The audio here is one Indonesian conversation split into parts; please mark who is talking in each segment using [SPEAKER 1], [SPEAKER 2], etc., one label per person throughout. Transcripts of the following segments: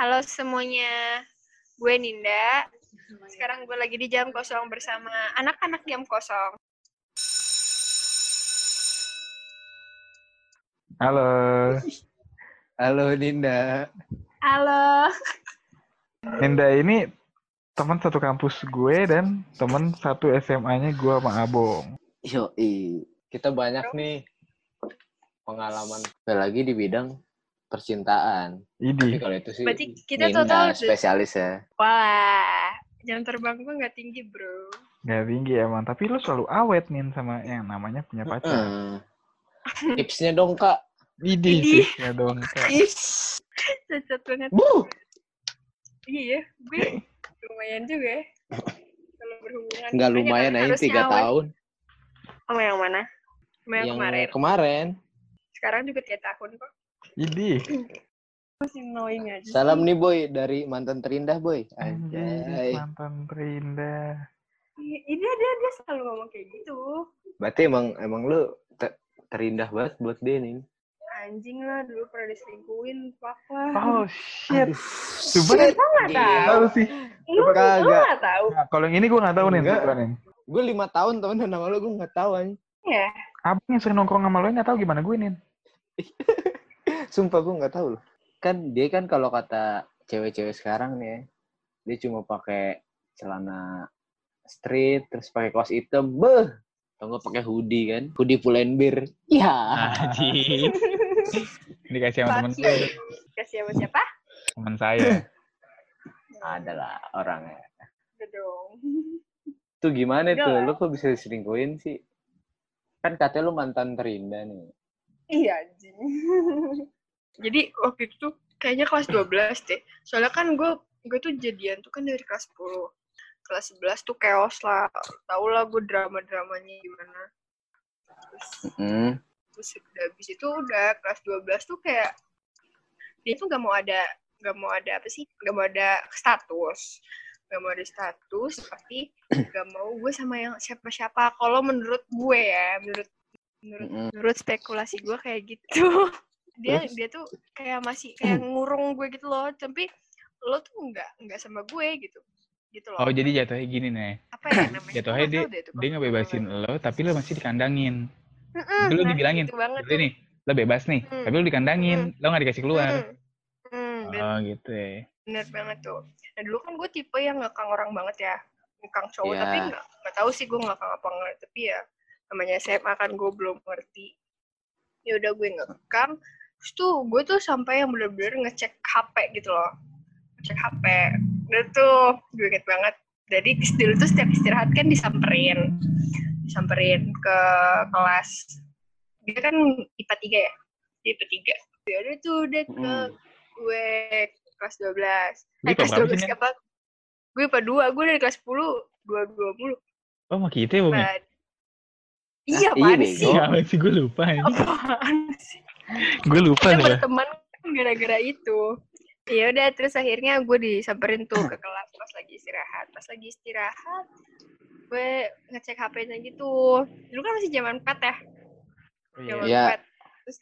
[SPEAKER 1] Halo semuanya, gue Ninda. Sekarang gue lagi di jam kosong bersama anak-anak jam kosong.
[SPEAKER 2] Halo,
[SPEAKER 3] Halo Ninda.
[SPEAKER 1] Halo.
[SPEAKER 2] Ninda ini teman satu kampus gue dan teman satu SMA-nya gue sama Abong.
[SPEAKER 3] Yoi. Kita banyak nih pengalaman apalagi di bidang percintaan. Tapi
[SPEAKER 2] Idi,
[SPEAKER 3] kalau itu sih
[SPEAKER 1] Berarti kita
[SPEAKER 3] Ninda
[SPEAKER 1] total
[SPEAKER 3] spesialis ya.
[SPEAKER 1] Wah, jam terbang gue nggak tinggi bro.
[SPEAKER 2] nggak tinggi emang. Tapi lu selalu awet nih sama yang namanya punya pacar.
[SPEAKER 3] Hmm. Tipsnya dong Kak.
[SPEAKER 2] Idi,
[SPEAKER 1] Idi.
[SPEAKER 2] tipsnya dong. Kak.
[SPEAKER 3] Tips.
[SPEAKER 1] Cacat banget.
[SPEAKER 3] Bu.
[SPEAKER 1] Iya, gue lumayan juga. ya. Kalau berhubungan.
[SPEAKER 3] Nggak
[SPEAKER 1] Makanya
[SPEAKER 3] lumayan
[SPEAKER 1] kan
[SPEAKER 3] aja
[SPEAKER 1] harus
[SPEAKER 3] tiga
[SPEAKER 1] nyawa.
[SPEAKER 3] tahun.
[SPEAKER 1] Sama yang mana? Sama yang,
[SPEAKER 3] Yang
[SPEAKER 1] kemarin. Hmm.
[SPEAKER 3] kemarin.
[SPEAKER 1] Sekarang juga tiga tahun kok.
[SPEAKER 2] Idi.
[SPEAKER 1] Masih knowing aja. sih.
[SPEAKER 3] Salam nih Boy dari mantan terindah Boy.
[SPEAKER 2] Anjay,
[SPEAKER 3] Anjay.
[SPEAKER 1] Hmm.
[SPEAKER 2] mantan terindah.
[SPEAKER 1] Iya, Ini dia dia selalu ngomong kayak gitu.
[SPEAKER 3] Berarti emang emang lu te- terindah banget buat dia nih.
[SPEAKER 1] Anjing lah dulu pernah diselingkuhin papa.
[SPEAKER 2] Oh shit.
[SPEAKER 3] Aduh,
[SPEAKER 2] Coba
[SPEAKER 3] shit.
[SPEAKER 1] nggak
[SPEAKER 3] Gila.
[SPEAKER 1] tahu.
[SPEAKER 2] tahu sih.
[SPEAKER 1] Lu lu
[SPEAKER 3] Kagak.
[SPEAKER 1] nggak tahu
[SPEAKER 2] Nah, kalau yang ini gue nggak tahu nih.
[SPEAKER 3] Enggak.
[SPEAKER 2] kebetulan ini.
[SPEAKER 3] Gue lima tahun temen sama lu gue nggak tahu anjing.
[SPEAKER 1] ya?
[SPEAKER 2] Abang yang sering nongkrong sama lu nggak tahu gimana gue nih.
[SPEAKER 3] Sumpah gue nggak tahu loh. Kan dia kan kalau kata cewek-cewek sekarang nih, ya, dia cuma pakai celana street terus pakai kaos hitam, beh. Atau nggak pakai hoodie kan? Hoodie pull&bear. Iya.
[SPEAKER 2] Dikasih sama teman
[SPEAKER 1] Pasti.
[SPEAKER 2] saya.
[SPEAKER 1] Kasih sama ya, siapa?
[SPEAKER 2] Teman saya.
[SPEAKER 3] Adalah orangnya.
[SPEAKER 1] Udah dong.
[SPEAKER 3] Tuh gimana
[SPEAKER 1] Enggak
[SPEAKER 3] tuh?
[SPEAKER 1] lah.
[SPEAKER 3] Lu kok bisa diselingkuhin sih? Kan katanya lu mantan terindah nih.
[SPEAKER 1] Iya anjing. Jadi waktu itu tuh kayaknya kelas 12 deh. Soalnya kan gue gue tuh jadian tuh kan dari kelas 10. Kelas 11 tuh chaos lah. Tau lah gue drama-dramanya gimana. Terus
[SPEAKER 3] Mm.
[SPEAKER 1] terus udah habis itu udah kelas 12 tuh kayak dia tuh nggak mau ada nggak mau ada apa sih nggak mau ada status nggak mau ada status tapi nggak mau gue sama yang siapa-siapa kalau menurut gue ya menurut menurut
[SPEAKER 3] Mm-mm.
[SPEAKER 1] menurut spekulasi gue kayak gitu dia
[SPEAKER 3] Terus?
[SPEAKER 1] dia tuh kayak masih kayak ngurung gue gitu loh tapi lo tuh nggak nggak sama gue gitu gitu loh
[SPEAKER 4] Oh jadi jatuhnya gini nih,
[SPEAKER 1] apa ya namanya
[SPEAKER 4] jatuhnya
[SPEAKER 1] Gue nggak tahu deh itu
[SPEAKER 4] dia
[SPEAKER 1] kalau-
[SPEAKER 4] ngebebasin lo, tapi lo masih dikandangin.
[SPEAKER 1] Mm-mm,
[SPEAKER 4] Dulu dibilangin,
[SPEAKER 1] gitu banget
[SPEAKER 4] Jadi
[SPEAKER 1] tuh.
[SPEAKER 4] nih, lo bebas nih,
[SPEAKER 1] Hmm.
[SPEAKER 4] tapi lo dikandangin, lo nggak dikasih keluar.
[SPEAKER 1] Mm-mm. Mm, bener
[SPEAKER 4] Oh gitu ya.
[SPEAKER 1] Bener banget tuh. Nah dulu kan gue tipe yang ngekang orang banget ya. Ngekang cowok, tapi
[SPEAKER 3] Iya.
[SPEAKER 1] nggak nggak tahu sih gue ngekang apa nggak. Tapi ya namanya SMA kan gue belum ngerti. Ya udah gue ngekang. Terus tuh gue tuh sampai yang bener-bener ngecek HP gitu loh. Ngecek HP. Udah tuh gue inget banget. Jadi dulu tuh setiap istirahat kan disamperin. Disamperin ke kelas. Dia kan IPA 3 ya. Dia IPA 3. Ya udah tuh udah ke
[SPEAKER 3] Mm.
[SPEAKER 1] gue kelas 12.
[SPEAKER 4] Lu
[SPEAKER 1] Eh,
[SPEAKER 4] IPA
[SPEAKER 1] kelas
[SPEAKER 4] berapa
[SPEAKER 1] 12
[SPEAKER 4] sih, Nen?
[SPEAKER 1] siapa? Gue IPA 2, gue dari kelas 10, 22 mulu.
[SPEAKER 4] Oh sama kita ya Bung ya?
[SPEAKER 1] Pad. Iya,
[SPEAKER 3] iya,
[SPEAKER 1] apaan
[SPEAKER 3] bego.
[SPEAKER 1] sih?
[SPEAKER 3] Oh.
[SPEAKER 4] Iya apa sih gue lupa ini.
[SPEAKER 1] Oh. Apaan sih?
[SPEAKER 4] Gue lupa
[SPEAKER 1] Kita
[SPEAKER 4] nih.
[SPEAKER 1] berteman kan gara-gara itu. Ya udah, terus akhirnya gue disamperin tuh ke kelas pas lagi istirahat. Pas lagi istirahat, gue ngecek HP-nya gitu. Dulu kan masih zaman pet ya.
[SPEAKER 4] Hmm,
[SPEAKER 1] Jawa
[SPEAKER 3] Iya.
[SPEAKER 1] Barat. Terus,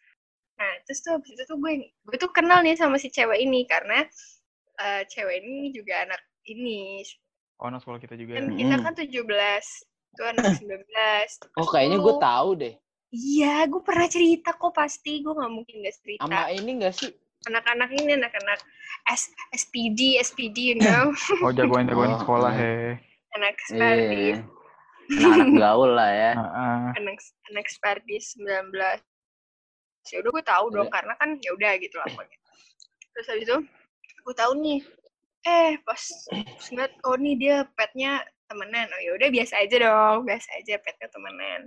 [SPEAKER 1] nah, terus tuh abis itu tuh gue, gue tuh kenal nih sama si cewek ini karena eh, cewek ini juga anak ini.
[SPEAKER 4] Oh sekolah kita juga.
[SPEAKER 1] Kan
[SPEAKER 3] Mm.
[SPEAKER 1] kita kan 17, tuh anak 19.
[SPEAKER 3] Oh kayaknya gue tahu deh.
[SPEAKER 1] Iya, gue pernah cerita kok pasti. Gue nggak mungkin gak cerita.
[SPEAKER 3] Sama ini gak sih?
[SPEAKER 1] Anak-anak ini anak-anak S- SPD, SPD, you know.
[SPEAKER 2] Oh jagoan-jagoan
[SPEAKER 3] Oh,
[SPEAKER 2] sekolah
[SPEAKER 3] iya.
[SPEAKER 2] heh.
[SPEAKER 1] anak
[SPEAKER 3] Iya.
[SPEAKER 1] Spardis.
[SPEAKER 3] Anak gaul lah ya.
[SPEAKER 2] Heeh.
[SPEAKER 1] anak anak Spardis 19 ya udah gue tahu
[SPEAKER 3] Iya.
[SPEAKER 1] dong karena kan ya udah gitu lah pokoknya terus habis itu gue tahu nih eh pas pas ngeliat oh nih dia petnya temenan oh ya udah biasa aja dong biasa aja petnya temenan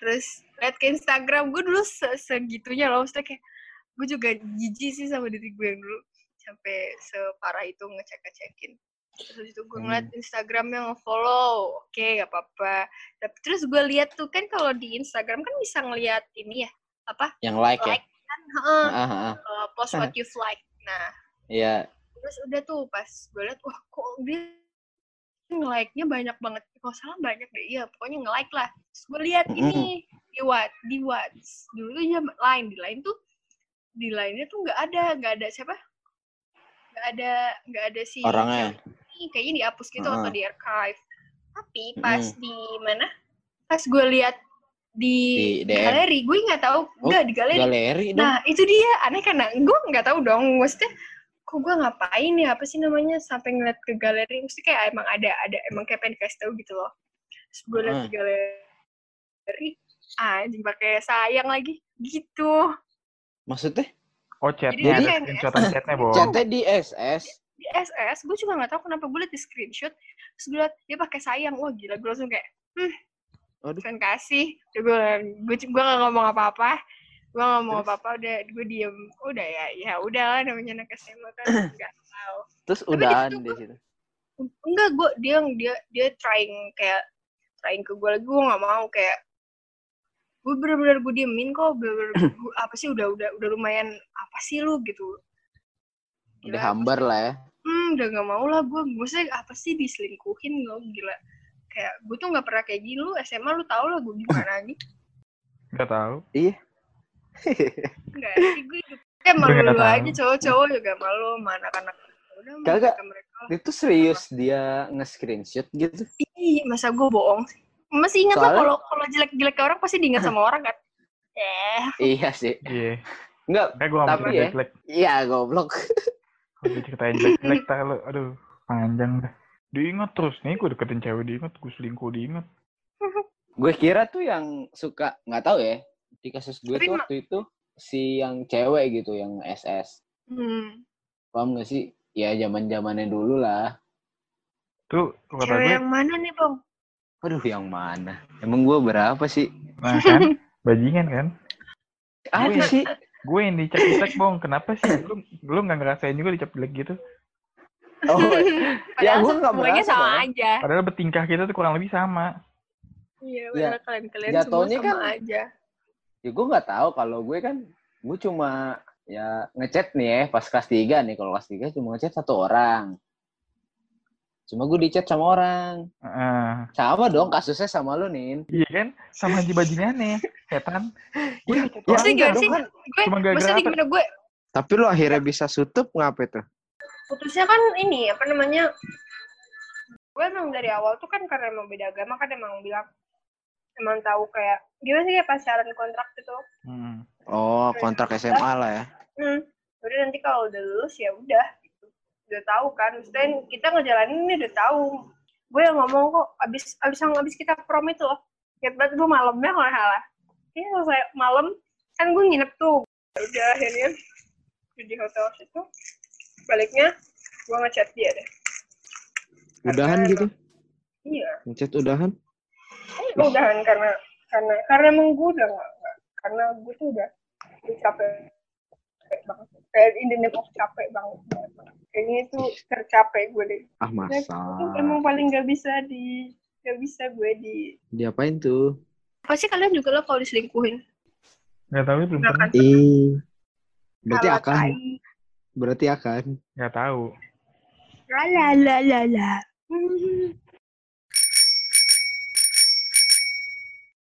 [SPEAKER 1] terus liat ke Instagram gue dulu se- segitunya loh maksudnya kayak gue juga jijik sih sama diri gue yang dulu sampai separah itu ngecek ngecekin terus habis itu gue ngeliat
[SPEAKER 3] Hmm.
[SPEAKER 1] Instagramnya ngefollow oke gak apa-apa tapi terus gue lihat tuh kan kalau di Instagram kan bisa ngeliat ini ya apa
[SPEAKER 3] Yang like ya.
[SPEAKER 1] like kan heeh,
[SPEAKER 3] Ah, ah, ah.
[SPEAKER 1] uh, post what you've like nah
[SPEAKER 3] Iya.
[SPEAKER 1] terus udah tuh pas gue liat wah kok dia nge-like-nya banyak banget kalau salah banyak deh iya pokoknya nge-like lah terus gue lihat ini di what di whats dulu ya lain di lain tuh di lainnya tuh nggak ada nggak ada siapa nggak nggak ada nggak ada si
[SPEAKER 3] orangnya
[SPEAKER 1] ini kayaknya dihapus gitu
[SPEAKER 3] Heeh.
[SPEAKER 1] atau di archive tapi pas di mana pas gue lihat di,
[SPEAKER 3] Di DM.
[SPEAKER 1] galeri gue nggak tahu
[SPEAKER 3] Oh,
[SPEAKER 1] nggak di galeri
[SPEAKER 3] galeri dong
[SPEAKER 1] nah itu dia aneh karena gue nggak tahu dong maksudnya kok gue ngapain ya apa sih namanya sampai ngeliat ke galeri mesti kayak emang ada ada emang kayak pengen dikasih tahu gitu loh terus gue liat
[SPEAKER 3] Heeh.
[SPEAKER 1] di galeri ah, anjing pakai sayang lagi gitu
[SPEAKER 3] maksudnya
[SPEAKER 2] Oh chatnya,
[SPEAKER 1] Jadi
[SPEAKER 2] ada
[SPEAKER 1] kayak-
[SPEAKER 2] screenshotan chatnya
[SPEAKER 1] Oh.
[SPEAKER 2] Bo.
[SPEAKER 3] chatnya di SS
[SPEAKER 1] di SS gue juga nggak tahu kenapa gue liat di screenshot terus gue liat dia pakai sayang wah gila gue langsung kayak hmm
[SPEAKER 3] Waduh.
[SPEAKER 1] kan kasih udah gue gue gue gak ngomong apa-apa gue gak ngomong
[SPEAKER 3] Terus?
[SPEAKER 1] apa-apa udah gue diem udah ya ya udah lah namanya anak SMA kan nggak tahu
[SPEAKER 3] terus
[SPEAKER 1] Tapi di
[SPEAKER 3] udahan
[SPEAKER 1] situ
[SPEAKER 3] di
[SPEAKER 1] gua-
[SPEAKER 3] situ
[SPEAKER 1] enggak gue dia dia dia trying kayak trying ke gue lagi gue nggak mau kayak gue bener-bener gue diemin kok bener-bener gua- apa sih udah udah udah lumayan apa sih lu gitu Gila,
[SPEAKER 3] udah hambar lah ya
[SPEAKER 1] hmm udah gak mau lah gue maksudnya apa sih diselingkuhin lo gila kayak gue tuh nggak pernah kayak gini lu SMA lu tau lah gue gimana nih
[SPEAKER 2] Gak tahu.
[SPEAKER 1] enggak sih gue hidup kayak malu
[SPEAKER 2] Gue nggak
[SPEAKER 1] lu
[SPEAKER 2] tahu.
[SPEAKER 1] aja cowok-cowok juga malu sama anak-anak udah sama
[SPEAKER 3] Kagak.
[SPEAKER 1] kata mereka lah
[SPEAKER 3] itu serius dia nge-screenshot gitu
[SPEAKER 1] Ih, masa gue bohong sih masih ingat lah
[SPEAKER 3] Soalnya-
[SPEAKER 1] kalau kalau jelek-jelek ke orang pasti diingat sama orang kan eh
[SPEAKER 3] iya sih
[SPEAKER 2] Iya.
[SPEAKER 3] enggak
[SPEAKER 2] Kayak gue gak mau
[SPEAKER 3] Tapi
[SPEAKER 2] cerita
[SPEAKER 3] ya.
[SPEAKER 2] jelek.
[SPEAKER 3] iya goblok
[SPEAKER 2] Kalau gue ceritain jelek-jelek tak lu. Aduh, panjang dah. Diingat terus nih, gue deketin cewek diingat, gue selingkuh diingat.
[SPEAKER 3] gue kira tuh yang suka nggak tahu ya di kasus gue
[SPEAKER 1] Tapi
[SPEAKER 3] tuh
[SPEAKER 1] ma-
[SPEAKER 3] waktu itu si yang cewek gitu yang SS
[SPEAKER 1] hmm.
[SPEAKER 3] paham gak sih ya zaman zamannya dulu lah
[SPEAKER 2] Tuh, kata
[SPEAKER 1] cewek
[SPEAKER 2] gue,
[SPEAKER 1] yang mana nih bang
[SPEAKER 3] Ya, aduh yang mana emang gue berapa sih
[SPEAKER 2] nah kan, bajingan kan.
[SPEAKER 3] ada
[SPEAKER 2] Gue-
[SPEAKER 3] sih
[SPEAKER 2] Gue yang dicap jelek, Bong. Kenapa sih? Lu, lu gak ngerasain juga dicap jelek gitu?
[SPEAKER 3] oh
[SPEAKER 1] Padahal
[SPEAKER 3] gua nggak
[SPEAKER 1] semuanya
[SPEAKER 3] merasa,
[SPEAKER 1] sama
[SPEAKER 3] Bang.
[SPEAKER 1] aja
[SPEAKER 2] Padahal bertingkah kita tuh kurang lebih sama.
[SPEAKER 1] iya padahal
[SPEAKER 3] Ya,
[SPEAKER 1] kalian kalian semua
[SPEAKER 3] jatuhnya
[SPEAKER 1] sama
[SPEAKER 3] kan-
[SPEAKER 1] aja
[SPEAKER 3] ya gue nggak tahu kalau gue kan gue cuma ya ngechat nih ya pas kelas 3 nih kalau kelas 3 cuma ngechat satu orang cuma gue dicat sama orang
[SPEAKER 2] Heeh.
[SPEAKER 3] sama dong kasusnya sama lu nin
[SPEAKER 2] iya kan? Sama haji bajingannya. Setan. Gue dicap
[SPEAKER 1] Maksudnya
[SPEAKER 2] orang
[SPEAKER 1] gimana
[SPEAKER 2] dong,
[SPEAKER 1] sih?
[SPEAKER 2] kan?
[SPEAKER 1] gue
[SPEAKER 2] Cuma gara-gara
[SPEAKER 1] maksudnya
[SPEAKER 2] apa?
[SPEAKER 1] gimana gue
[SPEAKER 3] tapi lu akhirnya bisa sutup ngapa tuh
[SPEAKER 1] putusnya kan ini apa namanya gue emang dari awal tuh kan karena emang beda agama kan emang bilang emang tahu kayak gimana sih kayak pacaran kontrak gitu
[SPEAKER 2] Hmm.
[SPEAKER 3] oh kontrak SMA lah ya
[SPEAKER 1] hmm. udah nanti kalau udah lulus ya udah gitu. udah tahu kan maksudnya kita ngejalanin ini udah tahu gue yang ngomong kok abis abis abis kita prom itu loh ya banget gue malamnya kalau nggak salah ini selesai malam kan gue nginep tuh Ya udah akhirnya di hotel situ baliknya gue ngechat dia deh
[SPEAKER 5] Udahan gitu?
[SPEAKER 1] iya
[SPEAKER 5] Ngechat udahan?
[SPEAKER 1] Eh, udahan karena karena karena emang gue udah nggak nggak- karena gue tuh udah udah capek capek banget kayak in the name of capek banget kayaknya itu tercapek gue deh
[SPEAKER 5] Ah masa.
[SPEAKER 1] Itu emang paling nggak bisa di nggak bisa gue di
[SPEAKER 5] Diapain tuh?
[SPEAKER 1] pasti kalian juga lah kalau diselingkuhin
[SPEAKER 2] Gak tau, belum
[SPEAKER 1] nggak kan?
[SPEAKER 2] pernah.
[SPEAKER 1] akan
[SPEAKER 5] Ih. Berarti
[SPEAKER 1] salah
[SPEAKER 5] akan.
[SPEAKER 1] tai.
[SPEAKER 5] Berarti akan.
[SPEAKER 2] Gak tahu.
[SPEAKER 1] la la la la la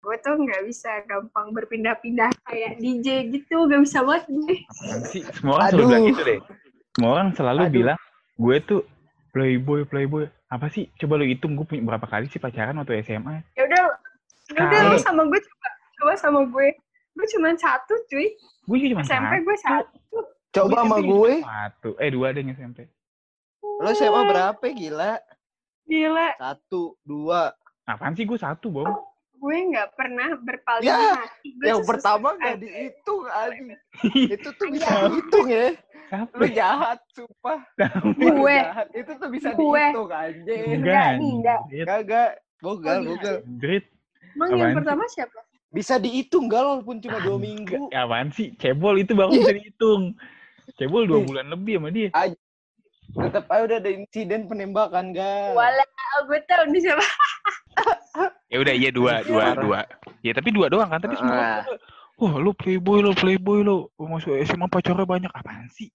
[SPEAKER 1] gue tuh nggak bisa gampang berpindah-pindah kayak DJ gitu gak bisa banget gue
[SPEAKER 4] Apaan sih? Semua orang selalu
[SPEAKER 5] Aduh.
[SPEAKER 4] bilang gitu deh. Semua orang selalu
[SPEAKER 3] Aduh.
[SPEAKER 4] bilang, gue tuh playboy, playboy. Apa sih? Coba lu hitung gue punya berapa kali sih pacaran waktu SMA.
[SPEAKER 1] ya udah ya udah lu
[SPEAKER 4] Sekali.
[SPEAKER 1] sama gue coba coba sama gue gue cuma satu cuy
[SPEAKER 4] Gue juga cuma
[SPEAKER 1] SMP gue satu
[SPEAKER 4] Gua
[SPEAKER 5] Coba sama
[SPEAKER 4] SMP
[SPEAKER 5] gue.
[SPEAKER 4] cuma Satu. Eh, dua deh yang SMP.
[SPEAKER 5] Lo SMA berapa gila?
[SPEAKER 1] gila
[SPEAKER 5] Satu, dua.
[SPEAKER 4] Apaan sih gue satu, Bong?
[SPEAKER 1] gue nggak pernah berpaling
[SPEAKER 5] Ya,
[SPEAKER 1] hati gue
[SPEAKER 5] Yang
[SPEAKER 1] tuh
[SPEAKER 5] pertama
[SPEAKER 1] susah.
[SPEAKER 5] nggak dihitung anjing. Itu tuh bisa
[SPEAKER 1] Iya.
[SPEAKER 5] dihitung ya. Lu
[SPEAKER 4] Siapa?
[SPEAKER 5] jahat, sumpah.
[SPEAKER 1] Gue.
[SPEAKER 5] Lu jahat. Itu tuh bisa
[SPEAKER 1] Gue.
[SPEAKER 5] dihitung anjing.
[SPEAKER 1] Enggak, enggak.
[SPEAKER 4] anjrit.
[SPEAKER 5] Kagak. Bogal,
[SPEAKER 1] Oh,
[SPEAKER 5] bogal.
[SPEAKER 4] Anjrit.
[SPEAKER 1] emang yang
[SPEAKER 4] Apaan
[SPEAKER 1] pertama siapa
[SPEAKER 5] Bisa dihitung galau pun cuma dua minggu.
[SPEAKER 4] Enggak, ya Apaan sih? Cebol itu baru bisa dihitung. Cebol dua
[SPEAKER 5] Ih.
[SPEAKER 4] bulan lebih sama dia.
[SPEAKER 5] Tetap aja udah ada insiden penembakan, gal.
[SPEAKER 1] wala gue tahu nih siapa
[SPEAKER 4] Ya udah, iya dua,
[SPEAKER 5] Parah.
[SPEAKER 4] dua, dua. Ya tapi dua doang kan, tapi semua orang
[SPEAKER 5] Ah.
[SPEAKER 4] tuh, Wah, lu playboy, lu playboy, Oh, lu masuk SMA pacarnya banyak. Apaan sih?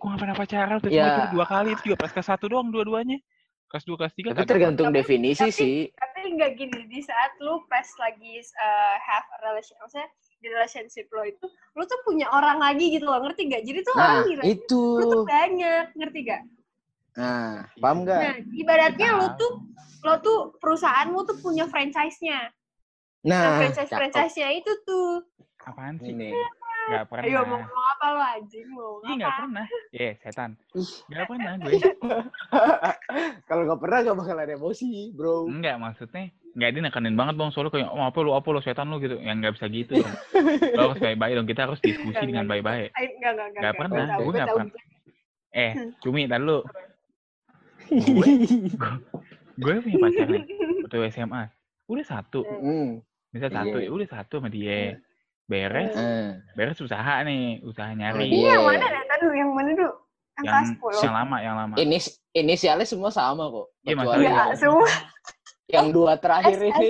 [SPEAKER 4] Gua gak pernah pacaran, tapi cuma
[SPEAKER 3] Ya.
[SPEAKER 4] dua kali, itu juga pas kelas satu doang dua-duanya. Kelas dua, kelas tiga, kan?
[SPEAKER 3] tapi
[SPEAKER 4] kagak.
[SPEAKER 3] tergantung
[SPEAKER 1] Tapi-
[SPEAKER 3] definisi
[SPEAKER 1] tapi-
[SPEAKER 3] sih
[SPEAKER 1] tapi nggak gini di saat lu pas lagi uh, have eh, a relationship maksudnya di relationship lo itu lo tuh punya orang lagi gitu loh ngerti gak jadi tuh orang
[SPEAKER 3] Nah,
[SPEAKER 1] gila
[SPEAKER 3] itu.
[SPEAKER 1] lo tuh banyak ngerti gak
[SPEAKER 3] Nah, paham
[SPEAKER 1] nah
[SPEAKER 3] gak?
[SPEAKER 1] ibaratnya
[SPEAKER 4] Nah.
[SPEAKER 1] lo tuh lo tuh perusahaanmu tuh punya franchise-nya nah
[SPEAKER 3] Nah,
[SPEAKER 1] franchise
[SPEAKER 3] cakep.
[SPEAKER 1] franchise-nya itu tuh
[SPEAKER 4] Apaan sih?
[SPEAKER 3] Ini.
[SPEAKER 4] Gak pernah.
[SPEAKER 1] ayo mau ngomong apa lo anjing mau
[SPEAKER 4] Ih,
[SPEAKER 1] ngomong
[SPEAKER 4] gak
[SPEAKER 1] apa
[SPEAKER 4] pernah. Iya, setan.
[SPEAKER 3] Ih.
[SPEAKER 4] Gak pernah gue.
[SPEAKER 3] Kalau nggak pernah nggak bakal ada emosi, bro.
[SPEAKER 4] Enggak, maksudnya. Enggak, dia nekanin banget bang. Soalnya kayak, oh, apa lu, apa lu, setan lu gitu. Ya nggak bisa gitu. dong. Lo harus baik-baik dong. Kita harus diskusi
[SPEAKER 1] Nggak,
[SPEAKER 4] dengan
[SPEAKER 1] Eh, nggak.
[SPEAKER 4] baik-baik.
[SPEAKER 1] Ayo, enggak, enggak, enggak,
[SPEAKER 4] Nggak pernah,
[SPEAKER 1] Gue tahu,
[SPEAKER 4] gue
[SPEAKER 1] gue
[SPEAKER 4] nggak
[SPEAKER 1] tahu.
[SPEAKER 4] Eh,
[SPEAKER 1] Hmm.
[SPEAKER 4] cumi, tar lu. Gue punya pacar nih. Waktu SMA. Udah satu.
[SPEAKER 3] Hmm.
[SPEAKER 4] Misal
[SPEAKER 3] Iya.
[SPEAKER 4] satu, ya udah satu sama dia. Beres,
[SPEAKER 3] eh,
[SPEAKER 4] beres usaha nih. Usaha nyari.
[SPEAKER 3] Iya.
[SPEAKER 1] Ini yang mana deh? Tadi dulu, yang mana dulu? Angka
[SPEAKER 4] Yang, yang lama, yang lama.
[SPEAKER 3] Ini inisialnya semua sama kok.
[SPEAKER 4] Iya,
[SPEAKER 3] Kecuali
[SPEAKER 1] 10.
[SPEAKER 4] masalah.
[SPEAKER 1] Ya,
[SPEAKER 3] yang,
[SPEAKER 1] semua
[SPEAKER 3] yang dua terakhir
[SPEAKER 1] S,
[SPEAKER 3] ini.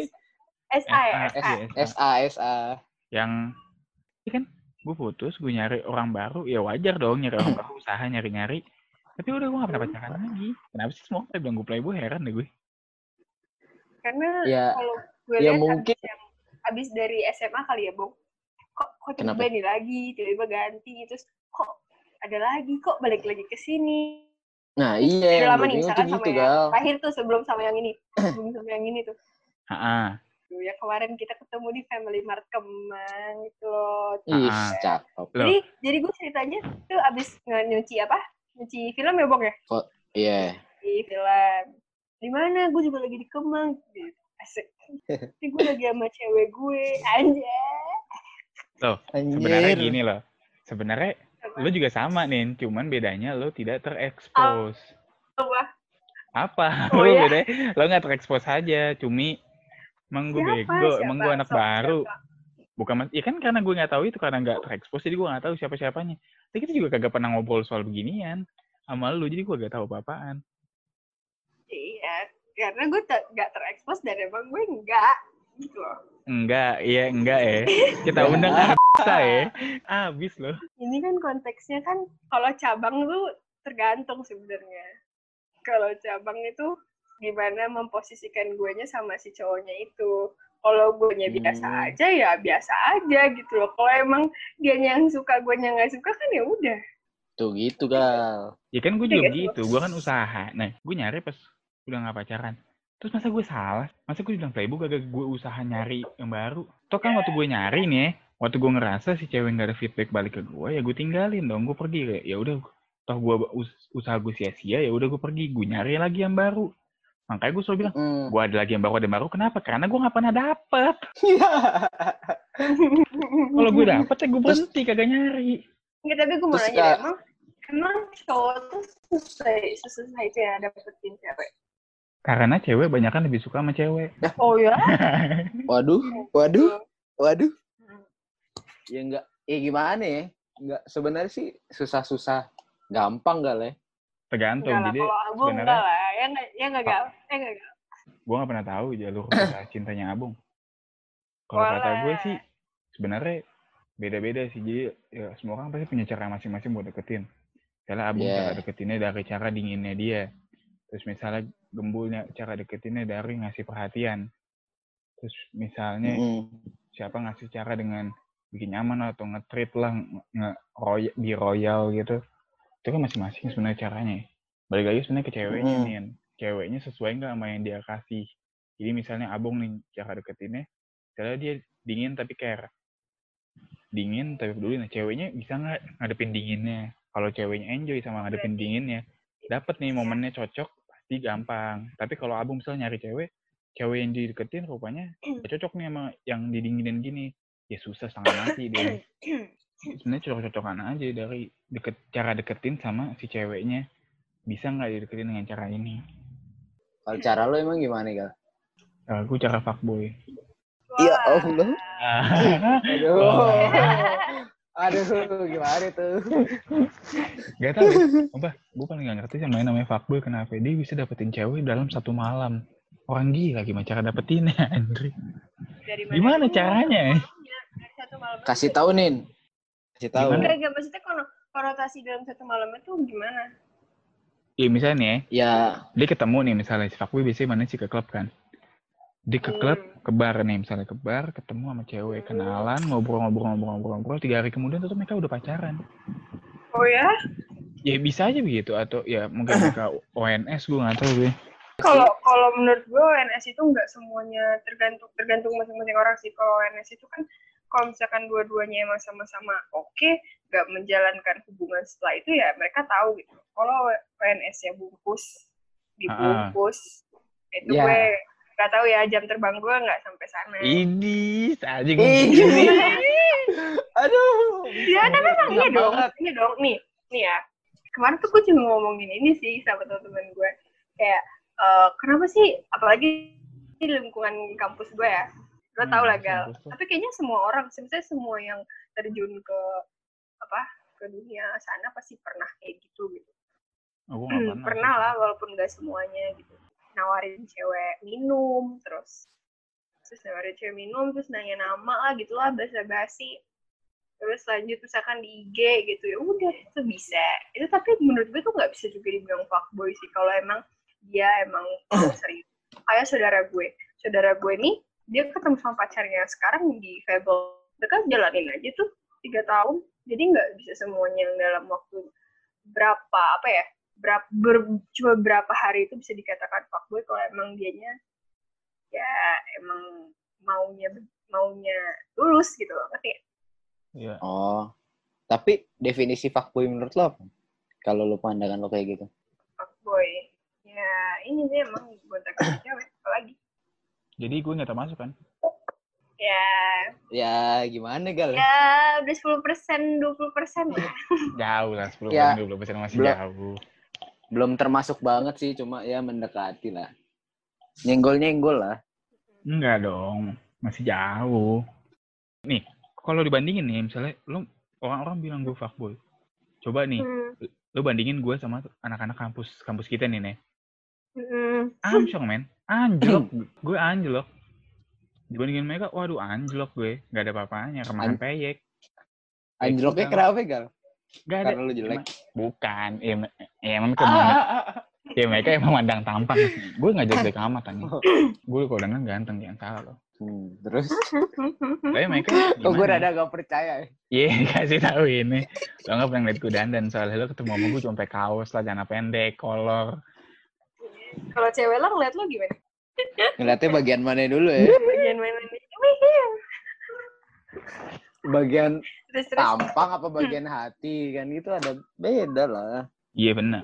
[SPEAKER 1] S, SA ya?
[SPEAKER 4] S-
[SPEAKER 1] SA.
[SPEAKER 4] Eh, S- S-
[SPEAKER 3] SA, SA.
[SPEAKER 4] yang
[SPEAKER 1] Iya
[SPEAKER 4] ini kan gue putus gue nyari orang baru ya wajar dong nyari orang baru usaha nyari nyari tapi udah gue gak pernah pacaran
[SPEAKER 1] Iya.
[SPEAKER 4] lagi kenapa sih semua orang bilang gue playboy heran deh gue
[SPEAKER 1] Karena
[SPEAKER 3] Ya,
[SPEAKER 1] kalau gue
[SPEAKER 3] ya
[SPEAKER 1] lihat
[SPEAKER 3] mungkin.
[SPEAKER 1] abis, yang- abis dari SMA kali ya, Bung. Kok kok tiba
[SPEAKER 3] Kenapa?
[SPEAKER 1] ini lagi, tiba-tiba ganti terus kok ada lagi, kok balik lagi ke sini.
[SPEAKER 3] Nah, iya.
[SPEAKER 1] udah
[SPEAKER 3] yang
[SPEAKER 1] lama
[SPEAKER 3] gue
[SPEAKER 1] nih
[SPEAKER 3] bingung
[SPEAKER 1] misalkan
[SPEAKER 3] tuh
[SPEAKER 1] sama
[SPEAKER 3] gitu,
[SPEAKER 1] yang
[SPEAKER 3] Gal.
[SPEAKER 1] terakhir tuh sebelum sama yang ini, sebelum sama yang ini tuh.
[SPEAKER 4] ah
[SPEAKER 1] Tuh, ya kemarin kita ketemu di Family Mart Kemang gitu loh.
[SPEAKER 3] Ih,
[SPEAKER 4] Ah.
[SPEAKER 3] cakep.
[SPEAKER 4] Loh.
[SPEAKER 1] Jadi jadi gue ceritanya tuh abis nge- nyuci apa? Nyuci film ya, Bung ya?
[SPEAKER 3] Iya.
[SPEAKER 1] di film di mana gue juga lagi di Kemang gitu. asik ini gue lagi sama cewek gue anjay
[SPEAKER 4] sebenarnya gini loh sebenarnya lo juga sama nih cuman bedanya lo tidak terekspos
[SPEAKER 1] Apa?
[SPEAKER 4] apa
[SPEAKER 1] Oh,
[SPEAKER 4] lo
[SPEAKER 1] ya?
[SPEAKER 4] bedanya lo nggak terekspos aja cumi emang gue
[SPEAKER 1] Siapa?
[SPEAKER 4] bego
[SPEAKER 1] Siapa?
[SPEAKER 4] emang gue anak
[SPEAKER 1] Sok,
[SPEAKER 4] baru
[SPEAKER 1] siapa?
[SPEAKER 4] bukan mas ya kan karena gue nggak tahu itu karena nggak terekspos jadi gue nggak tahu siapa siapanya tapi kita juga kagak pernah ngobrol soal beginian sama lu jadi gue gak tahu apa apaan
[SPEAKER 1] iya karena gue te- gak terekspos dan emang gue enggak gitu loh
[SPEAKER 4] enggak iya enggak ya kita
[SPEAKER 3] Ya.
[SPEAKER 4] undang bisa ya abis loh
[SPEAKER 1] ini kan konteksnya kan kalau cabang tuh tergantung sebenarnya kalau cabang itu gimana memposisikan guanya sama si cowoknya itu kalau guanya biasa
[SPEAKER 3] Hmm.
[SPEAKER 1] aja ya biasa aja gitu loh kalau emang dia yang suka guanya nggak suka kan ya udah
[SPEAKER 3] Tuh gitu, Gal.
[SPEAKER 4] ya kan gue
[SPEAKER 1] Iya,
[SPEAKER 4] juga
[SPEAKER 1] guys.
[SPEAKER 4] begitu gue kan usaha nah gue nyari pas udah nggak pacaran terus masa gue salah masa gue bilang playboy gak gue usaha nyari yang baru toh kan waktu gue nyari nih ya, waktu gue ngerasa si cewek nggak ada feedback balik ke gue ya gue tinggalin dong gue pergi kayak ya udah toh gue us- usaha gue sia-sia ya udah gue pergi gue nyari lagi yang baru makanya gue selalu bilang
[SPEAKER 3] Hmm.
[SPEAKER 4] gue ada lagi yang baru ada yang baru kenapa karena gue nggak pernah dapet
[SPEAKER 3] Iya.
[SPEAKER 4] kalau gue dapet ya gue berhenti kagak nyari
[SPEAKER 1] Nggak, tapi gue mau
[SPEAKER 3] Terus,
[SPEAKER 1] nanya deh,
[SPEAKER 4] eh,
[SPEAKER 3] Kak.
[SPEAKER 1] emang emang cowok tuh susah susah itu ya dapetin cewek
[SPEAKER 4] karena cewek banyak kan lebih suka sama cewek
[SPEAKER 1] oh ya
[SPEAKER 3] Waduh,
[SPEAKER 1] Gitu.
[SPEAKER 3] waduh, waduh. Ya enggak, ya gimana ya? Enggak, sebenarnya sih susah-susah gampang gal ya.
[SPEAKER 4] tergantung
[SPEAKER 1] enggak lah
[SPEAKER 4] jadi
[SPEAKER 1] kalau abung
[SPEAKER 4] sebenarnya-
[SPEAKER 1] enggak lah ya nggak ya nggak
[SPEAKER 4] Ah.
[SPEAKER 1] gal ya nggak gal
[SPEAKER 4] gue nggak pernah tahu jalur kisah cintanya abung kalau kata gue sih sebenarnya beda-beda sih jadi ya, semua orang pasti punya cara masing-masing buat deketin misalnya abung
[SPEAKER 1] Iya.
[SPEAKER 3] Yeah.
[SPEAKER 4] cara deketinnya dari cara dinginnya dia terus misalnya gembulnya cara deketinnya dari ngasih perhatian terus misalnya
[SPEAKER 3] Mm.
[SPEAKER 4] siapa ngasih cara dengan bikin nyaman atau nge-treat lah nge roy- di royal gitu itu kan masing-masing sebenarnya caranya ya. balik lagi sebenarnya ke ceweknya
[SPEAKER 3] Mm.
[SPEAKER 4] nih ceweknya sesuai nggak sama yang dia kasih jadi misalnya abong nih cara deketinnya misalnya dia dingin tapi care dingin tapi peduli nah ceweknya bisa nggak ngadepin dinginnya kalau ceweknya enjoy sama ngadepin dinginnya dapat nih momennya cocok pasti gampang tapi kalau abung misalnya nyari cewek cewek yang dideketin rupanya nggak cocok nih sama yang didinginin gini ya susah setengah mati deh sebenarnya cocok-cocokan aja dari deket cara deketin sama si ceweknya bisa nggak dideketin dengan cara ini
[SPEAKER 3] Kalau cara lo emang gimana gal?
[SPEAKER 4] Eh, gue cara fuckboy Iya,
[SPEAKER 3] Ya
[SPEAKER 1] Wah.
[SPEAKER 3] Allah. Iya. Aduh.
[SPEAKER 4] Wah.
[SPEAKER 3] Aduh, gimana tuh?
[SPEAKER 4] Gak tau, apa? Gue ya. paling gak ngerti sama yang namanya fuckboy kenapa dia bisa dapetin cewek dalam satu malam. Orang gila gimana cara dapetinnya, Andri?
[SPEAKER 1] Dari
[SPEAKER 4] Gimana
[SPEAKER 1] dulu?
[SPEAKER 4] caranya?
[SPEAKER 1] Dari satu malam
[SPEAKER 3] Kasih
[SPEAKER 1] itu.
[SPEAKER 3] tahu Nin. Kasih tahu.
[SPEAKER 4] Gimana?
[SPEAKER 1] Enggak, enggak. Maksudnya kalau konotasi dalam satu malam itu gimana?
[SPEAKER 4] Iya misalnya nih, ya,
[SPEAKER 3] Ya,
[SPEAKER 4] dia ketemu nih misalnya si fuckboy biasanya mana sih ke klub kan? Dia ke klub,
[SPEAKER 1] Hmm.
[SPEAKER 4] ke bar nih misalnya ke bar ketemu sama cewek kenalan ngobrol-ngobrol-ngobrol-ngobrol tiga hari kemudian tuh mereka udah pacaran
[SPEAKER 1] Oh ya?
[SPEAKER 4] ya bisa aja begitu atau ya mungkin mereka ONS gue nggak tahu gue
[SPEAKER 1] Kalau kalau menurut gue ONS itu nggak semuanya tergantung tergantung masing-masing orang sih. Kalau ONS itu kan kalau misalkan dua-duanya emang sama-sama oke, nggak menjalankan hubungan setelah itu ya mereka tahu gitu. Kalau ONS ya bungkus, dibungkus,
[SPEAKER 4] Ah.
[SPEAKER 1] itu
[SPEAKER 3] Ya.
[SPEAKER 1] gue nggak tahu ya jam terbang gue nggak sampai sana.
[SPEAKER 4] ini aja Iya.
[SPEAKER 5] Aduh.
[SPEAKER 1] Iya, tapi emang iya
[SPEAKER 5] Enak
[SPEAKER 1] dong,
[SPEAKER 5] banget.
[SPEAKER 1] iya dong. Nih, nih ya. Kemarin tuh gue cuma ngomongin ini sih sama teman-teman gue. Kayak, eh, kenapa sih, apalagi di lingkungan kampus gue ya. Lo tau lah, Gal. Tapi kayaknya semua orang, sebenarnya semua yang terjun ke, apa, ke dunia sana pasti pernah kayak gitu gitu.
[SPEAKER 4] aku nggak
[SPEAKER 1] Hmm, pernah lah, walaupun gak semuanya gitu. Nawarin cewek minum, terus terus nawarin cewek minum, terus nanya nama lah gitu lah, basa-basi. Terus lanjut misalkan di IG gitu, ya udah itu bisa. Itu tapi menurut gue tuh nggak bisa juga dibilang fuckboy sih, kalau emang dia emang mau serius. Kayak saudara gue. Saudara gue nih, dia ketemu sama pacarnya sekarang di Fable. Mereka jalanin aja tuh tiga tahun. Jadi nggak bisa semuanya yang dalam waktu berapa apa ya berapa cuma berapa hari itu bisa dikatakan fuckboy kalau emang dianya ya emang maunya maunya tulus gitu loh ngerti nggak?
[SPEAKER 4] Iya.
[SPEAKER 3] Oh. Tapi definisi fuckboy menurut lo apa? Kalau lo pandangan lo kayak gitu.
[SPEAKER 1] fuckboy ya ini sih emang gonta ganti cewek apalagi
[SPEAKER 4] jadi gue nggak termasuk kan
[SPEAKER 1] ya
[SPEAKER 3] Ya gimana gal?
[SPEAKER 1] ya udah sepuluh persen dua puluh persen lah
[SPEAKER 4] jauh lah sepuluh
[SPEAKER 3] Ya.
[SPEAKER 4] dua puluh persen masih
[SPEAKER 3] Belum.
[SPEAKER 4] jauh
[SPEAKER 3] Belum termasuk banget sih, cuma ya mendekati lah. Nyenggol-nyenggol lah.
[SPEAKER 4] Enggak dong, masih jauh. Nih, kalau dibandingin nih, misalnya lu orang-orang bilang gue fuckboy. Coba nih,
[SPEAKER 1] Hmm,
[SPEAKER 4] lu bandingin gue sama anak-anak kampus kampus kita nih, nih.
[SPEAKER 1] hmm.
[SPEAKER 4] Amsyong, men. Anjlok. gue anjlok. Dibandingin mereka, waduh anjlok gue. Gak ada apa-apanya, remahan
[SPEAKER 3] An-
[SPEAKER 4] peyek.
[SPEAKER 5] ya,
[SPEAKER 4] Iya.
[SPEAKER 3] Anjloknya Eh, kenapa gal?
[SPEAKER 4] Gak ada.
[SPEAKER 3] Karena lo jelek.
[SPEAKER 4] Bukan. Ya, me- ya emang
[SPEAKER 5] Ah,
[SPEAKER 4] kemana-
[SPEAKER 5] ah, ah, ah.
[SPEAKER 4] ya mereka emang mandang tampang. gue gak jelek amat, anjing. Gue kalau dengan ganteng, jangan salah loh.
[SPEAKER 3] Hmm, terus?
[SPEAKER 4] Tapi mereka
[SPEAKER 5] Kok gue
[SPEAKER 4] gimana?
[SPEAKER 5] rada gak percaya. ya?
[SPEAKER 4] Iya, kasih tahu ini. Lo nggak pernah ngeliat gue dandan, soalnya lo ketemu sama gue cuma pakai kaos, celana pendek, kolor.
[SPEAKER 1] kalau cewek lo ngeliat lo gimana
[SPEAKER 3] Ngeliatnya bagian mana dulu ya?
[SPEAKER 1] bagian mana nih Wih, iya.
[SPEAKER 3] Bagian
[SPEAKER 1] terus terus
[SPEAKER 3] tampang apa bagian hati kan itu ada beda gitu lah.
[SPEAKER 4] Iya benar.